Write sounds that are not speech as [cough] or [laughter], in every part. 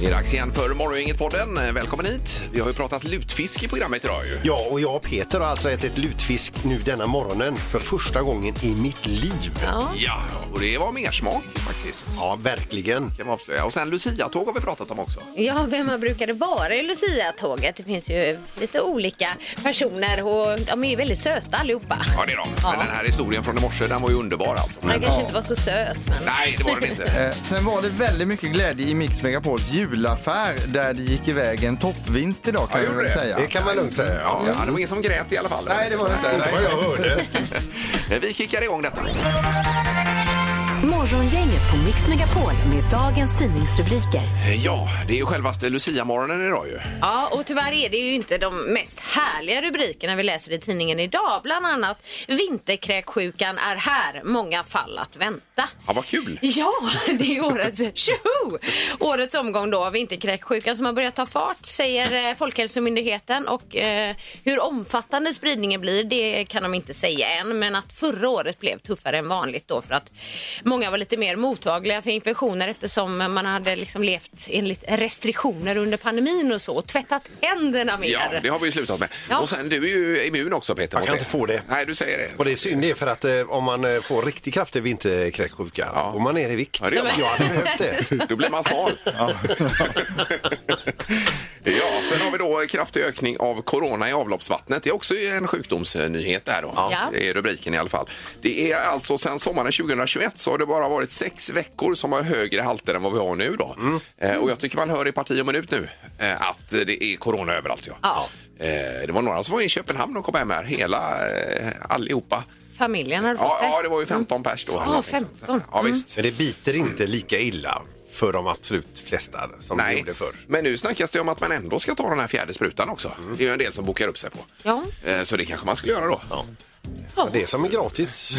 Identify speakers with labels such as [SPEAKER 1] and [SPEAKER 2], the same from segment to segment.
[SPEAKER 1] Det är dags igen för Morgongänget-podden. Välkommen hit. Vi har ju pratat lutfisk i programmet idag ju.
[SPEAKER 2] Ja, och jag och Peter har alltså ätit lutfisk nu denna morgonen för första gången i mitt liv. Ja,
[SPEAKER 1] Ja, och det var mersmak faktiskt.
[SPEAKER 2] verkligen.
[SPEAKER 1] Kan man avslöja. Och sen Lucia-tåg har vi pratat om också.
[SPEAKER 3] Ja, vem man brukade vara i Lucia-tåget. Det finns ju lite olika personer och de är ju väldigt söta allihopa.
[SPEAKER 1] Ja, det är de. Men den här historien från i morse, den var ju underbar alltså.
[SPEAKER 3] Han kanske inte var så söt, men...
[SPEAKER 1] Nej, det var den inte.
[SPEAKER 4] [laughs] Eh, Sen var det väldigt mycket glädje i Mix Megapols julaffär där det gick iväg en toppvinst idag kan
[SPEAKER 1] Ja,
[SPEAKER 4] jag
[SPEAKER 1] gjorde
[SPEAKER 4] väl
[SPEAKER 1] det?
[SPEAKER 4] säga.
[SPEAKER 2] Det kan man lugnt säga.
[SPEAKER 1] Ja, det var ingen som grät i alla fall.
[SPEAKER 4] Nej, det var det inte.
[SPEAKER 2] Vad jag
[SPEAKER 4] Nej.
[SPEAKER 2] hörde.
[SPEAKER 1] Men Vi kickar igång detta.
[SPEAKER 5] Morgongänget på Mix Megapol med dagens tidningsrubriker.
[SPEAKER 1] Ja, det är ju självaste Lucia-morgonen idag ju.
[SPEAKER 3] Ja, och tyvärr är det ju inte de mest härliga rubrikerna vi läser i tidningen idag. Bland annat vinterkräksjukan är här, många fall att vänta.
[SPEAKER 1] Ja, vad kul.
[SPEAKER 3] Ja, det är ju årets tjoho! Årets omgång då av vinterkräksjukan som har börjat ta fart säger eh, Folkhälsomyndigheten och eh, hur omfattande spridningen blir det kan de inte säga än men att förra året blev tuffare än vanligt då för att många var lite mer mottagliga för infektioner eftersom man hade liksom levt enligt restriktioner under pandemin och så och tvättat händerna mer.
[SPEAKER 1] Ja, det har vi ju slutat med.
[SPEAKER 3] Ja.
[SPEAKER 1] Och sen, du är ju immun också Peter.
[SPEAKER 2] Jag
[SPEAKER 1] mot
[SPEAKER 2] kan inte få det.
[SPEAKER 1] Nej, du säger det.
[SPEAKER 2] Och det är synd det är för att eh, om man eh, får riktigt kraftig vinterkräksjuka
[SPEAKER 1] Ja.
[SPEAKER 2] och man är i vikt.
[SPEAKER 1] Ja, det gör man.
[SPEAKER 2] jag
[SPEAKER 1] [laughs]
[SPEAKER 2] hade behövt det.
[SPEAKER 1] Då blir man smal. Ja. sen har vi då kraftig ökning av corona i avloppsvattnet. Det är också en sjukdomsnyhet där då.
[SPEAKER 3] Ja.
[SPEAKER 1] Det är rubriken i alla fall. Det är alltså sedan sommaren 2021 så har det bara varit sex veckor som har högre halter än vad vi har nu då. Eh, och jag tycker man hör i parti och minut nu eh, att det är corona överallt. Ja.
[SPEAKER 3] Ja.
[SPEAKER 1] Eh, det var några som var i Köpenhamn och kom hem här, hela, eh, allihopa.
[SPEAKER 3] Familjen har
[SPEAKER 1] Ja,
[SPEAKER 3] fått
[SPEAKER 1] ja,
[SPEAKER 3] det.
[SPEAKER 1] det var ju 15 pers då. eller
[SPEAKER 3] Mm. Ja,
[SPEAKER 1] någonting sånt.
[SPEAKER 3] 15.
[SPEAKER 1] Ja, visst.
[SPEAKER 2] Men det biter inte lika illa för de absolut flesta som det gjorde förr.
[SPEAKER 1] men nu snackas det om att man ändå ska ta den här fjärde sprutan också. Det är ju en del som bokar upp sig på.
[SPEAKER 3] Ja.
[SPEAKER 1] Eh, Så det kanske man skulle göra då. Ja.
[SPEAKER 2] Ja, Det är som är gratis.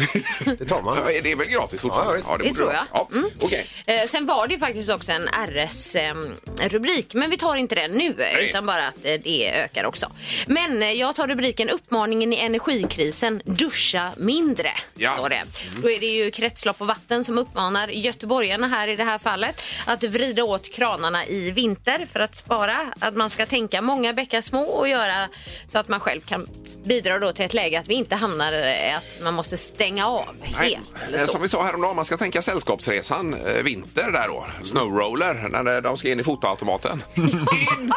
[SPEAKER 2] Det tar
[SPEAKER 1] [laughs]
[SPEAKER 2] man.
[SPEAKER 1] Det är väl gratis fortfarande?
[SPEAKER 2] Ja, visst.
[SPEAKER 3] Det
[SPEAKER 1] borde
[SPEAKER 3] tror
[SPEAKER 1] vara.
[SPEAKER 3] jag.
[SPEAKER 1] Ja. Okej.
[SPEAKER 3] Eh, sen var det ju faktiskt också en RS-rubrik, men vi tar inte den nu, utan bara att eh, det ökar också. Men eh, jag tar rubriken Uppmaningen i energikrisen, duscha mindre.
[SPEAKER 1] Ja. Mm.
[SPEAKER 3] Står det. Då är det ju kretslopp och vatten som uppmanar göteborgarna här i det här fallet att vrida åt kranarna i vinter för att spara. Att man ska tänka många bäckar små och göra så att man själv kan bidra då till ett läge att vi inte hamnar eh, att man måste stänga av
[SPEAKER 1] Nej,
[SPEAKER 3] helt.
[SPEAKER 1] eh,
[SPEAKER 3] Eller så.
[SPEAKER 1] Som vi sa häromdagen, man ska tänka Sällskapsresan, eh, vinter där då. Snowroller, när det- de ska in i fotoautomaten. In,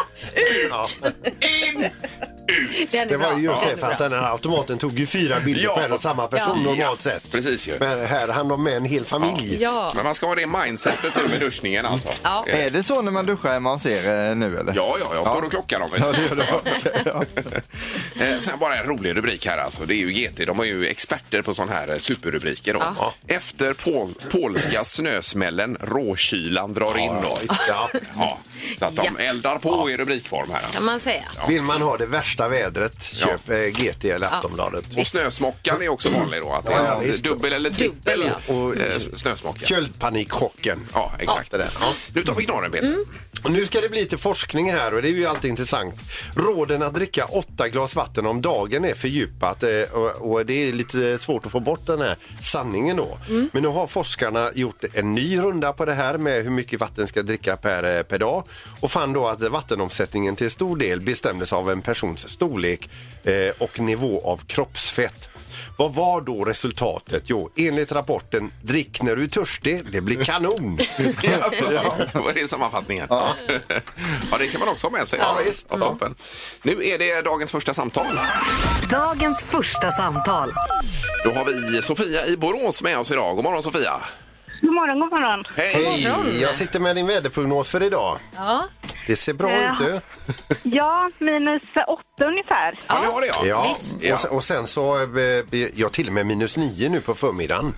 [SPEAKER 1] ut, in, ut.
[SPEAKER 3] Den är
[SPEAKER 2] Det var
[SPEAKER 3] bra.
[SPEAKER 2] ju just
[SPEAKER 3] Den
[SPEAKER 2] det,
[SPEAKER 3] är
[SPEAKER 2] för att
[SPEAKER 3] bra.
[SPEAKER 2] den här automaten tog ju fyra bilder
[SPEAKER 1] Ja.
[SPEAKER 2] på en och samma person
[SPEAKER 1] Ja.
[SPEAKER 2] normalt sett.
[SPEAKER 1] Precis ju.
[SPEAKER 2] Men här hann de med en hel familj.
[SPEAKER 3] Ja.
[SPEAKER 1] Men man ska ha det mindsetet nu med duschningen alltså.
[SPEAKER 3] Ja.
[SPEAKER 1] Eh,
[SPEAKER 4] Är det så när man duschar hemma och ser eh, nu eller?
[SPEAKER 1] Ja, ja, jag står och klockar dem.
[SPEAKER 4] Ja, det gör det. Okej, [laughs] ja.
[SPEAKER 1] Eh, Sen bara en rolig rubrik här alltså. Det är ju GT, de är ju experter på sådana här eh, superrubriker då. Efter pol polska snösmällen, råkylan drar in då.
[SPEAKER 2] Ja.
[SPEAKER 1] Ja, så att de
[SPEAKER 3] Ja.
[SPEAKER 1] eldar på i rubrikform här
[SPEAKER 3] kan
[SPEAKER 1] alltså.
[SPEAKER 3] man säga.
[SPEAKER 2] Vill man ha det värsta vädret,
[SPEAKER 1] Ja.
[SPEAKER 2] köp eh, GT eller Aftonbladet.
[SPEAKER 1] Och snösmockan är också vanlig då, att det är
[SPEAKER 2] Ja, ja, visst.
[SPEAKER 1] dubbel eller trippel
[SPEAKER 3] Mm. Dubbel,
[SPEAKER 1] och, eh, snösmocka.
[SPEAKER 2] Köldpanikchocken.
[SPEAKER 1] Ja, exakt.
[SPEAKER 2] Ja, det där. Ja.
[SPEAKER 1] Nu tar vi knorren Peter.
[SPEAKER 3] Mm.
[SPEAKER 2] Och Nu ska det bli lite forskning här och det är ju alltid intressant. Råden att dricka åtta glas vatten om dagen är fördjupat eh, och och det är lite svårt att få bort den här sanningen då. Men nu har forskarna gjort en ny runda på det här med hur mycket vatten ska dricka per, eh, per dag och fann då att vattenomsättningen till stor del bestämdes av en persons storlek eh, och nivå av kroppsfett. Vad var då resultatet? Jo, enligt rapporten drick när du är törstig, det blir kanon.
[SPEAKER 1] [laughs] Ja, det var det sammanfattningen. [laughs] Ja. det kan man också ha med sig. Ja, visst. Toppen. Nu är det dagens första samtal.
[SPEAKER 5] Dagens första samtal.
[SPEAKER 1] Då har vi Sofia i Borås med oss idag. God morgon Sofia!
[SPEAKER 6] God morgon, god morgon.
[SPEAKER 1] Hej!
[SPEAKER 2] Hej! Jag sitter med din väderprognos för idag.
[SPEAKER 3] Ja.
[SPEAKER 2] Det ser bra
[SPEAKER 6] Ja.
[SPEAKER 2] ut du.
[SPEAKER 6] Ja, minus åtta ungefär.
[SPEAKER 1] Ja, ni har det ja.
[SPEAKER 2] Ja,
[SPEAKER 3] visst.
[SPEAKER 1] Ja.
[SPEAKER 2] och sen, och sen så, eh, jag till och med minus nio nu på förmiddagen.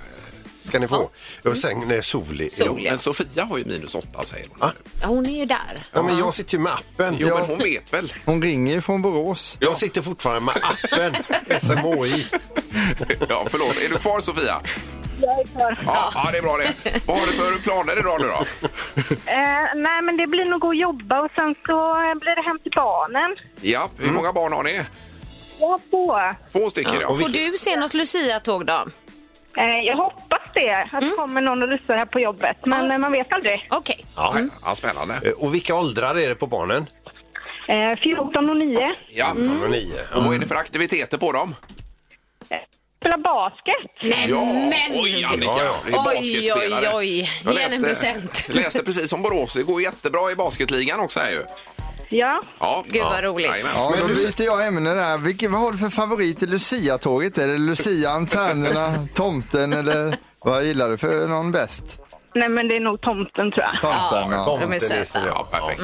[SPEAKER 2] Ska ni få. Och sen eh, sol. i-
[SPEAKER 3] Sol.
[SPEAKER 1] Men Sofia har ju minus åtta säger hon.
[SPEAKER 2] Ja.
[SPEAKER 3] Ja, Hon är ju där.
[SPEAKER 2] Ja, men jag sitter ju med appen.
[SPEAKER 1] Jo,
[SPEAKER 2] Jag-
[SPEAKER 1] men hon vet väl. [laughs]
[SPEAKER 4] Hon ringer ju från Borås.
[SPEAKER 2] Jag sitter fortfarande med appen, SMHI.
[SPEAKER 1] Ja, förlåt. Är du kvar Sofia?
[SPEAKER 6] Jag är kvar.
[SPEAKER 1] Ja, ja, det är bra det. Vad har du för planer idag nu då?
[SPEAKER 6] Eh, nej, men det blir nog att jobba och sen så blir det hem till barnen.
[SPEAKER 1] Ja, hur många barn har ni?
[SPEAKER 6] Jag på.
[SPEAKER 1] Två stycken ja.
[SPEAKER 3] Får du se något Lucia-tåg då?
[SPEAKER 6] Eh, jag hoppas det, att det kommer någon och lyssnar här på jobbet. Men
[SPEAKER 3] Ja.
[SPEAKER 6] eh, man vet aldrig.
[SPEAKER 3] Okej.
[SPEAKER 1] Ja, ja, spännande.
[SPEAKER 2] Eh, Och vilka åldrar är det på barnen?
[SPEAKER 6] Eh, 14 och 9.
[SPEAKER 1] Ja.
[SPEAKER 2] De är nio.
[SPEAKER 1] Och vad är det för aktiviteter på dem?
[SPEAKER 6] Spela basket.
[SPEAKER 3] Nej,
[SPEAKER 1] Ja,
[SPEAKER 3] men!
[SPEAKER 1] oj Annika,
[SPEAKER 2] Ja, ja.
[SPEAKER 1] det är
[SPEAKER 3] Oj,
[SPEAKER 1] basketspelare.
[SPEAKER 3] oj, oj.
[SPEAKER 1] Jag
[SPEAKER 3] Ge henne en
[SPEAKER 1] läste,
[SPEAKER 3] present.
[SPEAKER 1] läste precis som Borås, det går jättebra i basketligan också här ju.
[SPEAKER 6] Ja.
[SPEAKER 1] Ja.
[SPEAKER 3] Gud, vad
[SPEAKER 1] Ja.
[SPEAKER 3] roligt.
[SPEAKER 1] Jajamän.
[SPEAKER 4] Ja,
[SPEAKER 2] Men
[SPEAKER 4] då
[SPEAKER 2] du-
[SPEAKER 4] byter jag ämne där. Vilken, vad har du för favorit i Lucia-tåget? Är det Lucian, tärnorna, [laughs] tomten eller vad gillar du för någon bäst?
[SPEAKER 6] Nej, men det är nog tomten tror jag.
[SPEAKER 4] Tomten, ja.
[SPEAKER 2] Tomten
[SPEAKER 3] de är söta.
[SPEAKER 2] Nisse,
[SPEAKER 1] Ja, perfekt.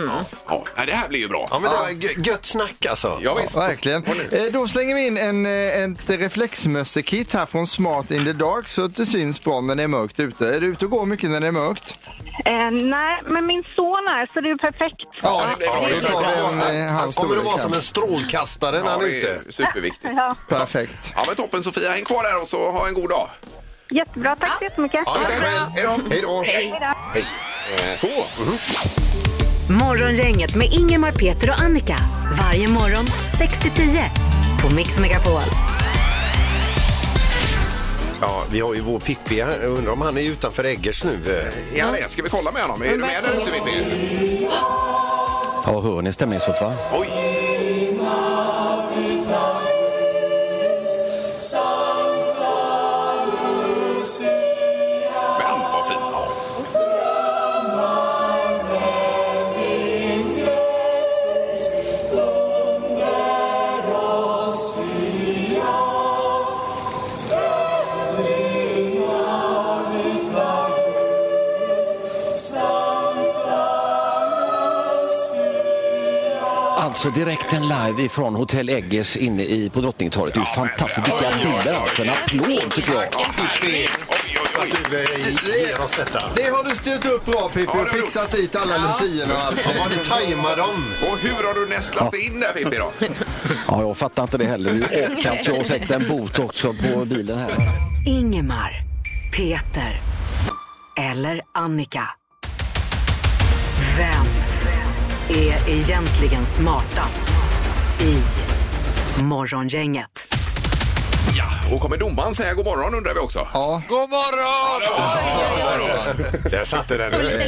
[SPEAKER 1] Ja, nej, det här blir ju bra.
[SPEAKER 2] Mm. Ja, men det var gö- gött snack alltså.
[SPEAKER 1] Ja, visst.
[SPEAKER 4] Verkligen. Eh, Då slänger vi in en, eh, ett reflexmössekit här från Smart in the Dark så att det syns bra när det är mörkt ute. Är du ute och går mycket när det är mörkt?
[SPEAKER 6] Eh, nej, men min son är så det är ju perfekt.
[SPEAKER 4] Ja,
[SPEAKER 1] det är bra.
[SPEAKER 4] då tar vi en, eh,
[SPEAKER 2] Han
[SPEAKER 4] hans
[SPEAKER 2] kommer att
[SPEAKER 4] storlek
[SPEAKER 2] vara som
[SPEAKER 4] här.
[SPEAKER 2] en strålkastare när
[SPEAKER 1] Ja,
[SPEAKER 2] han är
[SPEAKER 1] det
[SPEAKER 2] ute.
[SPEAKER 1] är superviktigt.
[SPEAKER 6] Ja.
[SPEAKER 4] Perfekt.
[SPEAKER 1] Ja, men toppen Sofia, häng kvar där och så ha en god dag.
[SPEAKER 6] Jättebra, tack så jättemycket.
[SPEAKER 2] Ja, tack
[SPEAKER 3] bra.
[SPEAKER 2] själv. Hej då. Hej då.
[SPEAKER 1] Så.
[SPEAKER 5] Morgongänget med Ingemar, Peter och Annika. Varje morgon 6 till 10 på Mix Megapol.
[SPEAKER 2] Ja, vi har ju vår Pippi. här. Jag undrar om han är utanför Eggers nu. eh.
[SPEAKER 1] Ja, det. Ska vi kolla med honom? Är du med där ute, Pippi?
[SPEAKER 7] Ja, hör ni stämningsfullt va?
[SPEAKER 1] Oj! Men vad fint. Ja.
[SPEAKER 7] Alltså direkten live ifrån Hotell Eggers inne i, på Drottningtorget. Det är ju
[SPEAKER 1] Ja, men-
[SPEAKER 7] fantastiskt. Vilka
[SPEAKER 1] Oj, oj,
[SPEAKER 7] bilder
[SPEAKER 1] oj.
[SPEAKER 7] alltså. En applåd tycker jag.
[SPEAKER 1] Ja, Pippi! Oj, oj, oj.
[SPEAKER 2] Du eh, ger oss detta.
[SPEAKER 4] Det har du styrt upp bra Pippi
[SPEAKER 1] Ja,
[SPEAKER 4] och
[SPEAKER 1] det har
[SPEAKER 4] fixat dit alla luciorna och allt.
[SPEAKER 2] Ja, det tajmar dem.
[SPEAKER 1] Och hur har du nästlat in där, Pippi? Då?
[SPEAKER 7] Ja, jag fattar inte det heller. Det är ju åkat. Jag har säkert en bot också på bilen här.
[SPEAKER 5] Ingemar, Peter eller Annika. Vem är egentligen smartast i Morgongänget?
[SPEAKER 1] Ja, och kommer domaren säga god morgon undrar vi också?
[SPEAKER 4] Ja.
[SPEAKER 1] God morgon!
[SPEAKER 2] Där satte
[SPEAKER 3] Och
[SPEAKER 2] den.
[SPEAKER 3] lite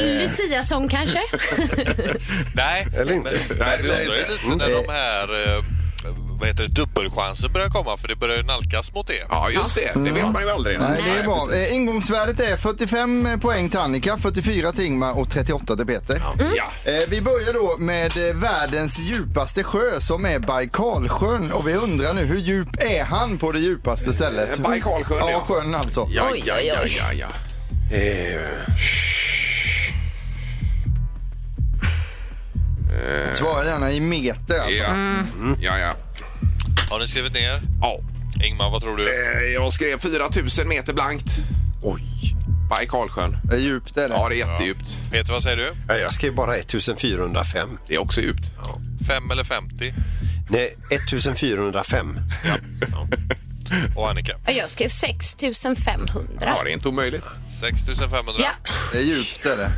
[SPEAKER 1] [laughs]
[SPEAKER 3] Lucia-sång kanske?
[SPEAKER 8] [laughs] Nej,
[SPEAKER 2] Eller inte. Mm.
[SPEAKER 8] men
[SPEAKER 1] Nej,
[SPEAKER 8] jag
[SPEAKER 1] det är
[SPEAKER 8] undrar ju
[SPEAKER 1] inte.
[SPEAKER 8] lite när de här eh, vad heter det, dubbelchanser börjar komma för det börjar ju nalkas mot det.
[SPEAKER 1] Ja, just det. Det vet man ju aldrig.
[SPEAKER 4] Nej, det är bra.
[SPEAKER 1] precis.
[SPEAKER 4] Eh, Ingångsvärdet är 45 poäng till Annika, 44 till Ingmar och 38 till Peter.
[SPEAKER 1] Ja.
[SPEAKER 4] Eh, Vi börjar då med eh, världens djupaste sjö som är Baikalsjön och vi undrar nu hur djup är han på det djupaste stället?
[SPEAKER 1] Eh, Baikalsjön, ja.
[SPEAKER 4] Ja, sjön alltså.
[SPEAKER 1] Ja,
[SPEAKER 3] Oj,
[SPEAKER 1] ja,
[SPEAKER 3] oj,
[SPEAKER 1] ja,
[SPEAKER 3] oj.
[SPEAKER 1] ja, ja.
[SPEAKER 4] Svara gärna i meter alltså.
[SPEAKER 1] Ja, ja. ja.
[SPEAKER 8] Har ni skrivit ner?
[SPEAKER 1] ja.
[SPEAKER 8] Ingmar, vad tror du?
[SPEAKER 1] Eh, Jag skrev 4000 meter blankt.
[SPEAKER 2] Oj.
[SPEAKER 1] Baikalsjön.
[SPEAKER 4] Det är djupt är det.
[SPEAKER 1] Ja, det är jättedjupt.
[SPEAKER 8] Peter, vad säger du?
[SPEAKER 2] Ja, Jag skrev bara 1405.
[SPEAKER 1] Det är också djupt.
[SPEAKER 8] 5 eller 50?
[SPEAKER 2] Nej, 1405.
[SPEAKER 8] Och Annika?
[SPEAKER 3] Jag skrev 6 500.
[SPEAKER 1] Ja, det är inte omöjligt.
[SPEAKER 8] 6500.
[SPEAKER 3] Ja.
[SPEAKER 4] Det är djupt är det.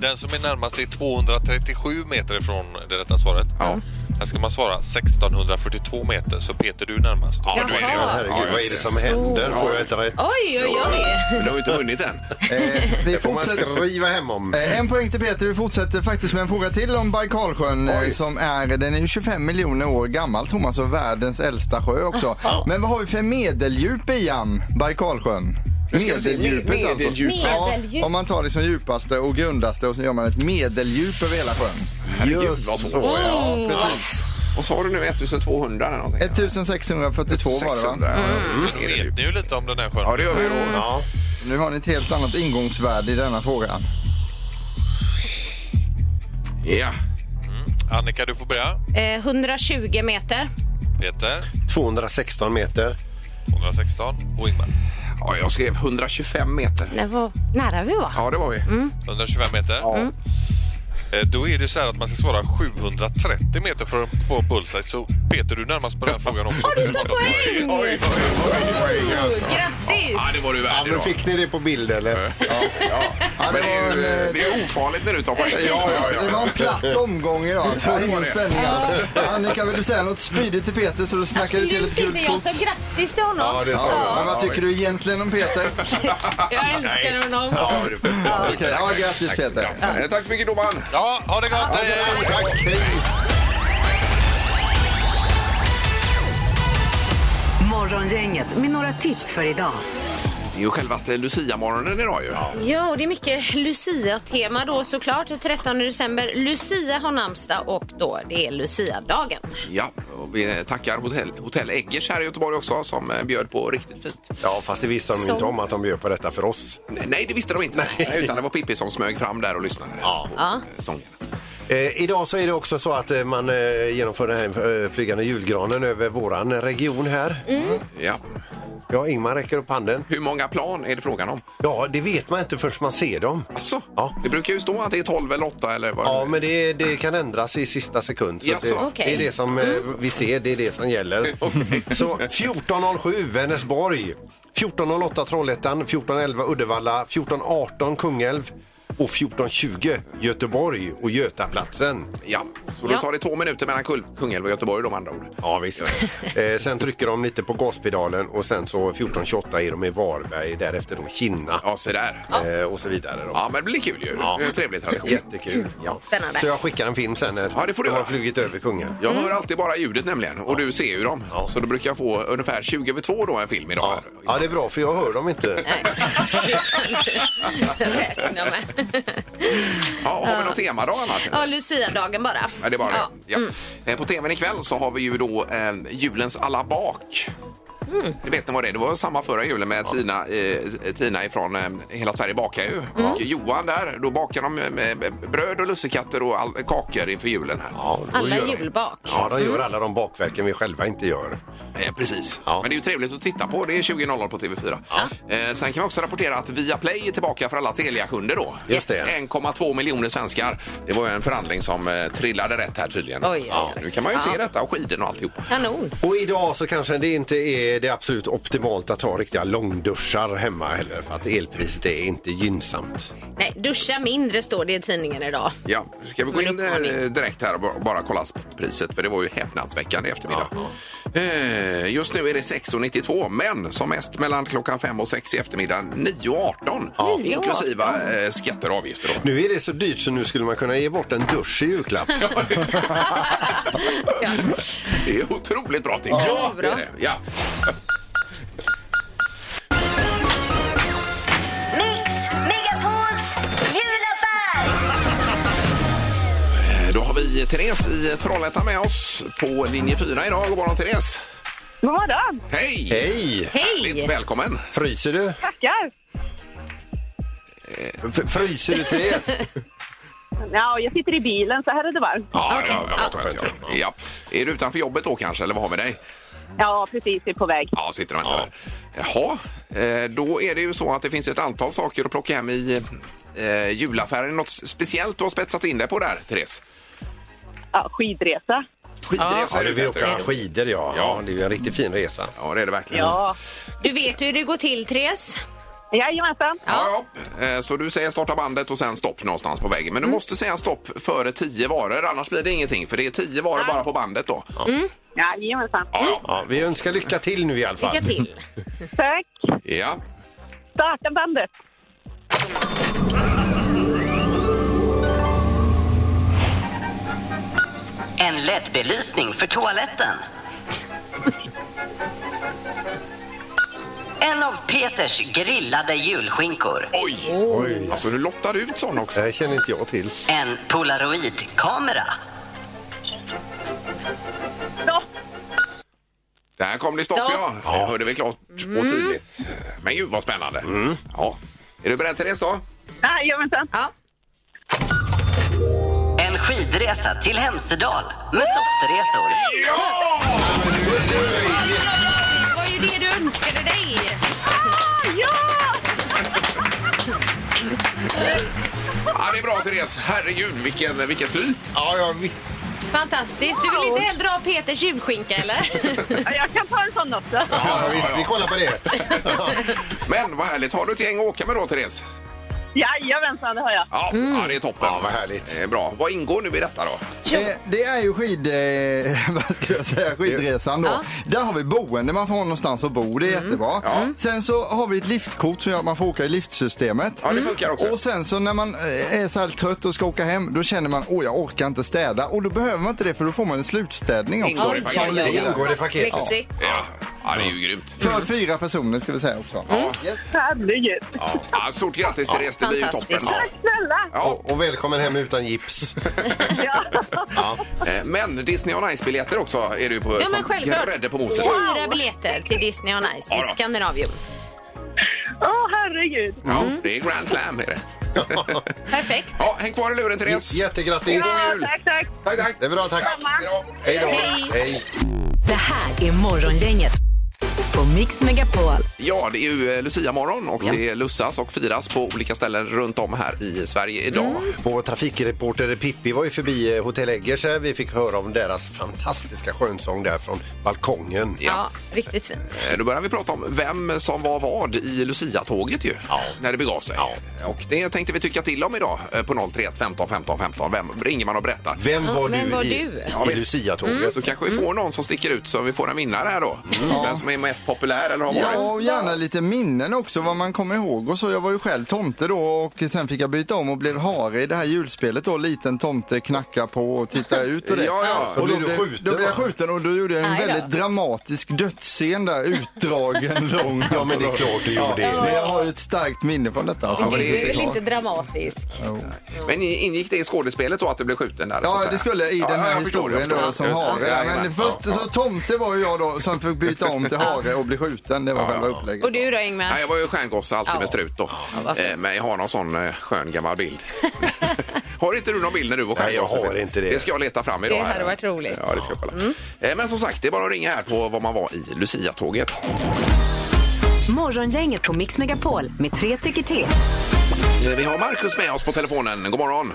[SPEAKER 8] Den som är närmast är 237 meter ifrån det rätta svaret.
[SPEAKER 1] Ja.
[SPEAKER 8] Här ska man svara 1642 meter, så Peter du är närmast.
[SPEAKER 1] Ja, du är det.
[SPEAKER 3] Jaha.
[SPEAKER 2] Herregud,
[SPEAKER 1] Ja,
[SPEAKER 2] vad är det
[SPEAKER 1] just
[SPEAKER 2] som händer? Får jag inte rätt?
[SPEAKER 3] Oj, oj, oj.
[SPEAKER 1] Men Du har ju inte vunnit än.
[SPEAKER 4] Eh, vi
[SPEAKER 2] Får man
[SPEAKER 4] fortsätter.
[SPEAKER 2] skriva hem om?
[SPEAKER 4] Eh, En poäng till Peter. Vi fortsätter faktiskt med en fråga till om Baikalsjön eh, som är, den är ju 25 miljoner år gammal Thomas och världens äldsta
[SPEAKER 1] [laughs]
[SPEAKER 4] sjö också. Men vad har vi för medeldjup i han, Baikalsjön? Medeldjupet alltså.
[SPEAKER 1] Medeldjupet.
[SPEAKER 4] Ja,
[SPEAKER 3] Medeldjup.
[SPEAKER 4] om man tar liksom djupaste och grundaste och så gör man ett medeldjup över hela sjön.
[SPEAKER 1] Herregud, vad så.
[SPEAKER 4] Ja, precis.
[SPEAKER 1] Och så har du nu 1200 eller någonting?
[SPEAKER 4] 1642 var det va?
[SPEAKER 1] 600.
[SPEAKER 8] Så då vet ni ju lite om den här sjön.
[SPEAKER 1] Ja, det gör vi då.
[SPEAKER 2] Ja.
[SPEAKER 4] Nu har ni ett helt annat ingångsvärde i denna frågan.
[SPEAKER 1] Ja.
[SPEAKER 8] Annika, du får börja.
[SPEAKER 3] Eh, 120 meter.
[SPEAKER 8] Peter,
[SPEAKER 2] 216 meter.
[SPEAKER 8] 216. Och Ingmar,
[SPEAKER 1] ja, jag skrev 125 meter.
[SPEAKER 3] Det var nära vi var.
[SPEAKER 1] Ja, det var vi.
[SPEAKER 8] 125 meter.
[SPEAKER 1] Ja.
[SPEAKER 8] Eh, Då är det så här att man ska svara 730 meter för att få en bullseye. Så Peter, du är närmast på den här frågan också.
[SPEAKER 3] Har du
[SPEAKER 8] Det är
[SPEAKER 3] inte
[SPEAKER 8] klart att man är-
[SPEAKER 3] poäng?
[SPEAKER 1] Oj, oj, oj, oj, oj.
[SPEAKER 3] Oh, Grattis!
[SPEAKER 1] Ja, det var du
[SPEAKER 2] Ja,
[SPEAKER 1] värd
[SPEAKER 2] men
[SPEAKER 1] idag.
[SPEAKER 2] fick ni det på bild eller?
[SPEAKER 1] Ja, ja. Men det är ju eh, det är ofarligt när du tar parti. Ja, ja,
[SPEAKER 4] Det var en platt omgång idag, så det är ingen spänning alls. Annika, vill du säga något spydigt till Peter så du snackar du till ett
[SPEAKER 3] Absolut inte.
[SPEAKER 4] gult
[SPEAKER 3] Jag
[SPEAKER 4] kort?
[SPEAKER 3] sa grattis till honom.
[SPEAKER 2] Ja, det sa
[SPEAKER 4] Ja, men
[SPEAKER 2] du.
[SPEAKER 4] vad tycker du egentligen om
[SPEAKER 3] [laughs]
[SPEAKER 4] Peter?
[SPEAKER 3] Jag älskar honom.
[SPEAKER 1] Ja, det är bra.
[SPEAKER 4] Okej, ja, grattis Peter.
[SPEAKER 1] Ja. Eh, Tack så mycket domaren.
[SPEAKER 8] Ja, ha det gott! Hej!
[SPEAKER 5] Morgongänget med några tips för idag.
[SPEAKER 1] Det är ju självaste Lucia-morgonen idag ju.
[SPEAKER 3] Ja, och det är mycket Lucia-tema då såklart. 13 december, Lucia har namnsdag och då det är Lucia-dagen.
[SPEAKER 1] Ja, och vi tackar hotell, hotell Eggers här i Göteborg också som eh, bjöd på riktigt fint.
[SPEAKER 2] Ja, fast det visste de ju inte om att de bjöd på detta för oss.
[SPEAKER 1] Nej, det visste de inte. Utan det var Pippi som smög fram där och lyssnade på
[SPEAKER 3] Ja.
[SPEAKER 1] eh, sången.
[SPEAKER 2] Eh, idag så är det också så att eh, man eh, genomför den här eh, flygande julgranen över våran region här.
[SPEAKER 1] Ja.
[SPEAKER 2] Ja, Ingmar räcker upp handen.
[SPEAKER 1] Hur många plan är det frågan om?
[SPEAKER 2] Ja, det vet man inte förrän man ser dem.
[SPEAKER 1] Alltså,
[SPEAKER 2] Ja.
[SPEAKER 1] Det brukar ju stå att det är 12 eller 8 eller vad
[SPEAKER 2] Ja, men det, det kan ändras i sista sekund. Så att det,
[SPEAKER 1] Jaså? Mm.
[SPEAKER 3] Okej.
[SPEAKER 2] det är det som eh, vi ser, det är det som
[SPEAKER 1] [laughs]
[SPEAKER 2] gäller. Så 14.07 Vänersborg, 14.08 Trollhättan, 14.11 Uddevalla, 14.18 Kungälv och 14.20 Göteborg och Götaplatsen.
[SPEAKER 1] Ja, så då
[SPEAKER 3] Ja.
[SPEAKER 1] tar det två minuter mellan Kul- Kungälv och Göteborg de andra ord.
[SPEAKER 2] Ja,
[SPEAKER 1] [laughs]
[SPEAKER 2] visst. eh, sen trycker de lite på gaspedalen och sen så 14.28 är de i Varberg, därefter då Kinna
[SPEAKER 1] Ja, se där.
[SPEAKER 2] eh, och så vidare. Då.
[SPEAKER 1] Ja, men det blir kul ju.
[SPEAKER 2] Ja.
[SPEAKER 1] Det är en trevlig tradition.
[SPEAKER 2] Jättekul. Ja.
[SPEAKER 3] Spännande.
[SPEAKER 2] Så jag skickar en film sen när
[SPEAKER 1] Ja, det får du
[SPEAKER 2] de har
[SPEAKER 1] göra.
[SPEAKER 2] flugit över kungen.
[SPEAKER 1] Jag hör alltid bara ljudet nämligen och du ser ju dem. Så då brukar jag få ungefär 20 över 2 då en film idag.
[SPEAKER 2] Ja, det är bra för jag hör dem inte.
[SPEAKER 3] Nej. [laughs] Räkna med.
[SPEAKER 1] Ja, har vi något tema då annars?
[SPEAKER 3] Ja, Lucia-dagen bara.
[SPEAKER 1] Ja, det är bara
[SPEAKER 3] Ja. Mm.
[SPEAKER 1] det. Ja. Eh, På tvn ikväll så har vi ju då eh, julens alla bak.
[SPEAKER 3] Mm.
[SPEAKER 1] Det vet ni vad det är? Det var samma förra julen med Tina, eh, Tina ifrån eh, Hela Sverige bakar ju.
[SPEAKER 3] Mm.
[SPEAKER 1] Och Johan där, då bakar de eh, med bröd och lussekatter och all, kakor inför julen här.
[SPEAKER 2] Ja, då
[SPEAKER 3] Alla
[SPEAKER 2] gör de.
[SPEAKER 3] julbak.
[SPEAKER 2] Ja, de gör alla de bakverken vi själva inte gör.
[SPEAKER 1] Eh, precis.
[SPEAKER 2] Ja.
[SPEAKER 1] Men det är ju trevligt att titta på. Det är 20.00 på TV4. Eh, sen kan vi också rapportera att Viaplay är tillbaka för alla Telia-kunder då.
[SPEAKER 2] Just det.
[SPEAKER 1] 1,2 miljoner svenskar. Det var ju en förhandling som eh, trillade rätt här tydligen.
[SPEAKER 3] Oj, oj,
[SPEAKER 1] Ja,
[SPEAKER 3] oj.
[SPEAKER 1] Nu kan man ju
[SPEAKER 3] Ja.
[SPEAKER 1] se detta och skidorna och alltihop.
[SPEAKER 3] Kanon.
[SPEAKER 2] Och idag så kanske det inte är det absolut optimalt att ta riktiga långduschar hemma heller för att elpriset är inte gynnsamt.
[SPEAKER 3] Nej, duscha mindre står det i tidningen idag.
[SPEAKER 1] Ja, ska vi gå
[SPEAKER 3] Som en
[SPEAKER 1] in eh, direkt här och ba- bara kolla priset för det var ju häpnadsväckande i eftermiddag. Eh, Just nu är det 6,92 men som mest mellan klockan 5 och 6 i eftermiddag 9,18 inklusive eh, skatter och
[SPEAKER 2] [laughs]
[SPEAKER 1] avgifter. Då. [laughs]
[SPEAKER 2] Nu är det så dyrt så nu skulle man kunna ge bort en dusch i julklapp.
[SPEAKER 3] [laughs]
[SPEAKER 1] Det är otroligt bra tips. Ja,
[SPEAKER 3] bra.
[SPEAKER 1] det är det. ja.
[SPEAKER 9] Mix Megapols julaffär!
[SPEAKER 1] Eh, Då har vi Therese i Trollhättan med oss på linje 4 idag. God morgon Therese!
[SPEAKER 6] God morgon!
[SPEAKER 1] Hej!
[SPEAKER 2] Hej!
[SPEAKER 1] Härligt,
[SPEAKER 3] Hej!
[SPEAKER 1] välkommen!
[SPEAKER 2] Fryser du?
[SPEAKER 6] Tackar!
[SPEAKER 2] F- fryser du Therese?
[SPEAKER 6] Ja, jag sitter i bilen så här är det varmt.
[SPEAKER 1] Ja,
[SPEAKER 3] Okej.
[SPEAKER 1] ja, ja, vad skönt, ja. ja. Är du utanför jobbet då kanske eller vad har vi dig?
[SPEAKER 6] Ja, precis. Jag är på väg.
[SPEAKER 1] Ja, sitter och väntar. där. Jaha, eh, då är det ju så att det finns ett antal saker att plocka hem i eh, julaffären. Något speciellt du har spetsat in dig på där, Therese?
[SPEAKER 6] Ja, skidresa.
[SPEAKER 1] Skidresa
[SPEAKER 2] Ja,
[SPEAKER 1] är
[SPEAKER 2] du
[SPEAKER 1] ute
[SPEAKER 2] vill
[SPEAKER 1] efter,
[SPEAKER 2] åka skidor ja. ja. Det är ju en riktigt fin resa.
[SPEAKER 1] Ja, det är det verkligen.
[SPEAKER 6] Ja,
[SPEAKER 3] Du vet hur det går till, Therese.
[SPEAKER 6] jajamensan.
[SPEAKER 1] Ja, ja. Eh, Så du säger starta bandet och sen stopp någonstans på vägen. Men du måste säga stopp före tio varor, annars blir det ingenting. För det är tio varor bara på bandet då.
[SPEAKER 6] Jajamensan.
[SPEAKER 1] Ja, ja.
[SPEAKER 2] Ja, vi önskar lycka till nu i alla fall.
[SPEAKER 3] Lycka till.
[SPEAKER 6] Tack.
[SPEAKER 1] ja.
[SPEAKER 6] Starta bandet.
[SPEAKER 9] En LED-belysning för toaletten. En av Peters grillade julskinkor.
[SPEAKER 1] Oj!
[SPEAKER 2] Oj.
[SPEAKER 1] Alltså, du lottade ut sån också.
[SPEAKER 2] Det här känner inte jag till.
[SPEAKER 9] En polaroidkamera.
[SPEAKER 6] Stopp.
[SPEAKER 1] Där kom det stopp,
[SPEAKER 3] Stopp.
[SPEAKER 1] ja. Jag hörde vi klart och tydligt. Men gud vad spännande. Ja. Är du beredd Therese då?
[SPEAKER 6] Jajamensan.
[SPEAKER 3] Ja.
[SPEAKER 9] En skidresa till Hemsedal med softresor.
[SPEAKER 1] Ja!
[SPEAKER 3] Oj, oj, oj, det var ju det du önskade dig.
[SPEAKER 6] Ah, Ja!
[SPEAKER 1] Ja, det är bra Therese. Herregud, vilken, vilken flyt.
[SPEAKER 2] Ja, ja, vi-
[SPEAKER 3] Fantastiskt. Du vill inte hellre ha Peters julskinka eller?
[SPEAKER 6] Ja, Jag kan ta en sån också.
[SPEAKER 2] ja, visst, vi kollar på det.
[SPEAKER 1] Men vad härligt. Har du ett gäng att åka med då Therese?
[SPEAKER 6] Jajamensan, det har jag.
[SPEAKER 1] Ja, ja det är toppen.
[SPEAKER 2] Mm. Ja, vad härligt.
[SPEAKER 1] Det är bra. Vad ingår nu i detta då?
[SPEAKER 4] Eh, Det är ju skid, eh, [laughs] vad ska jag säga, skidresan då. Där har vi boende, man får ha någonstans att bo, det
[SPEAKER 3] Mm.
[SPEAKER 4] är jättebra. Sen så har vi ett liftkort som gör att man får åka i liftsystemet.
[SPEAKER 1] Ja,
[SPEAKER 2] Mm.
[SPEAKER 1] det funkar också.
[SPEAKER 4] Och sen så när man eh, är så här trött och ska åka hem, då känner man åh jag orkar inte städa. Och då behöver man inte det för då får man en slutstädning också.
[SPEAKER 1] Ingår i
[SPEAKER 3] Oj,
[SPEAKER 1] paketet.
[SPEAKER 3] oj, oj.
[SPEAKER 2] Det ingår i paketet.
[SPEAKER 3] Lyxigt.
[SPEAKER 1] Ja. ja, det är ju grymt.
[SPEAKER 2] Mm.
[SPEAKER 4] För fyra personer ska vi säga också.
[SPEAKER 6] Herregud.
[SPEAKER 1] Ja. Ja, stort grattis Therese, det blir ju toppen.
[SPEAKER 3] Fantastiskt.
[SPEAKER 1] Ja.
[SPEAKER 6] Tack snälla.
[SPEAKER 1] Ja.
[SPEAKER 2] Och, och välkommen hem utan gips.
[SPEAKER 6] Ja.
[SPEAKER 1] Eh, Men Disney on Ice-biljetter också är det ju på,
[SPEAKER 3] Ja, men
[SPEAKER 1] som
[SPEAKER 3] självklart.
[SPEAKER 1] grädde på moset.
[SPEAKER 3] Fyra biljetter till Disney on Ice
[SPEAKER 1] Ja
[SPEAKER 3] i
[SPEAKER 1] då.
[SPEAKER 3] Skandinavium.
[SPEAKER 6] Åh, herregud.
[SPEAKER 1] Ja,
[SPEAKER 2] Mm.
[SPEAKER 1] det är Grand Slam är det.
[SPEAKER 3] Perfekt.
[SPEAKER 1] Ja, häng kvar i luren Therese.
[SPEAKER 2] Jättegrattis!
[SPEAKER 6] Ja, tack, tack.
[SPEAKER 2] Tack, tack. Det är bra, tack. Hej då. Hej.
[SPEAKER 5] Det här är Morgongänget på Mix Megapol.
[SPEAKER 1] Ja, det är ju eh, Lucia-morgon och det är lussas och firas på olika ställen runt om här i Sverige idag.
[SPEAKER 2] Vår trafikreporter Pippi var ju förbi eh, Hotell Eggers här. Vi fick höra om deras fantastiska skönsång där från balkongen.
[SPEAKER 3] Ja, riktigt fint.
[SPEAKER 1] Eh, Då börjar vi prata om vem som var vad i Lucia-tåget ju, när det begav sig. Och det tänkte vi tycka till om idag eh, på 031 15 15 15. Vem ringer man och berättar?
[SPEAKER 2] Vem var
[SPEAKER 3] vem
[SPEAKER 2] du
[SPEAKER 3] var
[SPEAKER 2] i,
[SPEAKER 3] du? Mm.
[SPEAKER 1] Ja,
[SPEAKER 2] i
[SPEAKER 1] visst.
[SPEAKER 2] Lucia-tåget?
[SPEAKER 1] Så kanske vi
[SPEAKER 4] Mm.
[SPEAKER 1] får någon som sticker ut så vi får en vinnare här då. Den som är mest populär eller har varit.
[SPEAKER 4] Ja, och gärna lite minnen också, vad man kommer ihåg och så. Jag var ju själv tomte då och sen fick jag byta om och blev hare i det här julspelet då. Liten tomte knacka på och titta ut och det.
[SPEAKER 1] Ja, ja.
[SPEAKER 2] Då
[SPEAKER 4] Och då,
[SPEAKER 2] blev du
[SPEAKER 4] blev,
[SPEAKER 2] skjuten,
[SPEAKER 4] då blev jag
[SPEAKER 2] va?
[SPEAKER 4] skjuten och då gjorde jag en
[SPEAKER 3] Aj då.
[SPEAKER 4] väldigt dramatisk dödsscen där, utdragen,
[SPEAKER 1] [laughs]
[SPEAKER 4] lång.
[SPEAKER 2] Ja, men det är klart du gjorde det.
[SPEAKER 4] Men jag har ju ett starkt minne från detta. alltså.
[SPEAKER 1] Ja, men det är
[SPEAKER 3] Du är väl
[SPEAKER 1] klart.
[SPEAKER 3] inte dramatisk?
[SPEAKER 1] Men ingick det i skådespelet då att det blev skjuten där? så att
[SPEAKER 4] Ja,
[SPEAKER 1] säga?
[SPEAKER 4] det skulle i
[SPEAKER 1] Ja,
[SPEAKER 4] den
[SPEAKER 1] ja,
[SPEAKER 4] här
[SPEAKER 1] jag förstår,
[SPEAKER 4] historien
[SPEAKER 1] jag förstår.
[SPEAKER 4] då som
[SPEAKER 1] Just det. Ja,
[SPEAKER 4] hare. Ja, men
[SPEAKER 1] jajamän.
[SPEAKER 4] först
[SPEAKER 1] Ja,
[SPEAKER 4] så tomte var ju jag då som fick byta
[SPEAKER 1] [laughs]
[SPEAKER 4] om till hare och bli skjuten. Det var själva upplägget.
[SPEAKER 3] Och du då Ingmar?
[SPEAKER 1] Nej, jag var ju stjärngosse alltid
[SPEAKER 3] Ja.
[SPEAKER 1] med strut då.
[SPEAKER 3] vad fint.
[SPEAKER 1] Eh, Men jag har någon sån eh, skön gammal bild.
[SPEAKER 3] [laughs]
[SPEAKER 1] har inte du någon bild när du var
[SPEAKER 2] Nej, jag
[SPEAKER 1] stjärngosse?
[SPEAKER 2] har inte det.
[SPEAKER 1] Det ska jag leta fram idag.
[SPEAKER 3] Det
[SPEAKER 1] här.
[SPEAKER 3] hade varit roligt. Mm.
[SPEAKER 1] Ja, det ska jag kolla. Eh, Men som sagt, det är bara att ringa här på vad man var i Lucia-tåget. Eh,
[SPEAKER 5] Morgongänget på Mix Megapol med tre tycker till.
[SPEAKER 1] Eh, Vi har Markus med oss på telefonen. God morgon!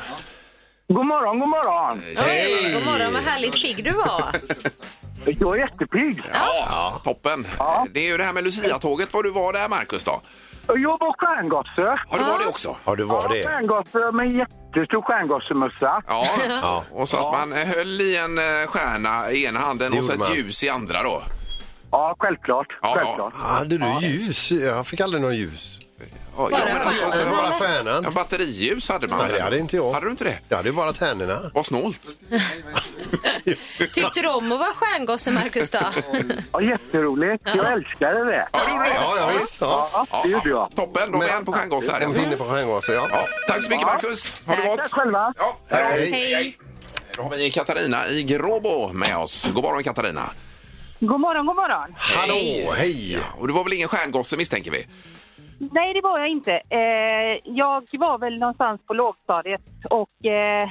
[SPEAKER 10] God morgon, god morgon.
[SPEAKER 3] Hej! God morgon, vad härligt pigg du var.
[SPEAKER 10] Jag är jättepigg.
[SPEAKER 1] Ja, toppen! Det är ju det här med Lucia-tåget. Var du var där, Markus då?
[SPEAKER 10] Jag var stjärngosse.
[SPEAKER 1] Ja, du var det också?
[SPEAKER 2] Ja, du var
[SPEAKER 10] Ja,
[SPEAKER 2] det.
[SPEAKER 10] Stjärngosse med jättestor stjärngossemössa.
[SPEAKER 1] Ja. och så att man eh, höll i en eh, stjärna i ena handen
[SPEAKER 2] Det
[SPEAKER 1] och så ett
[SPEAKER 2] gjorde man.
[SPEAKER 1] ljus i andra då.
[SPEAKER 10] Ja, självklart.
[SPEAKER 1] Ja,
[SPEAKER 10] självklart.
[SPEAKER 2] Hade du ljus? Jag fick aldrig någon ljus.
[SPEAKER 1] Ja, ja, men alltså,
[SPEAKER 2] Det
[SPEAKER 1] så-
[SPEAKER 2] var bara
[SPEAKER 1] Ja,
[SPEAKER 2] stjärnan.
[SPEAKER 1] batteriljus hade man
[SPEAKER 2] Nej,
[SPEAKER 1] väl?
[SPEAKER 2] det hade inte jag.
[SPEAKER 1] Hade du inte det?
[SPEAKER 2] Jag hade ju bara tärnorna.
[SPEAKER 1] Vad snålt.
[SPEAKER 3] Tyckte du om att vara stjärngosse Marcus då?
[SPEAKER 10] Ja, jätteroligt. Jag älskade det.
[SPEAKER 1] Ja, du gjorde det?
[SPEAKER 2] Ja, ja visst. Ja.
[SPEAKER 10] det gjorde jag.
[SPEAKER 1] Toppen, då är vi en på stjärngoss här.
[SPEAKER 2] En
[SPEAKER 1] Ja.
[SPEAKER 2] pinne på stjärngåsen, Mm. ja.
[SPEAKER 1] Ja, tack så mycket Marcus. Har du
[SPEAKER 3] Tack.
[SPEAKER 1] gått?
[SPEAKER 10] Tack själva.
[SPEAKER 1] Ja,
[SPEAKER 2] Hej.
[SPEAKER 3] Hej.
[SPEAKER 1] Då har vi Katarina i Gråbo med oss. God morgon Katarina.
[SPEAKER 6] God morgon, god morgon.
[SPEAKER 2] Hallå, hej!
[SPEAKER 1] Och du var väl ingen stjärngosse misstänker vi?
[SPEAKER 6] Nej, det var jag inte. Eh, jag var väl någonstans på lågstadiet och eh,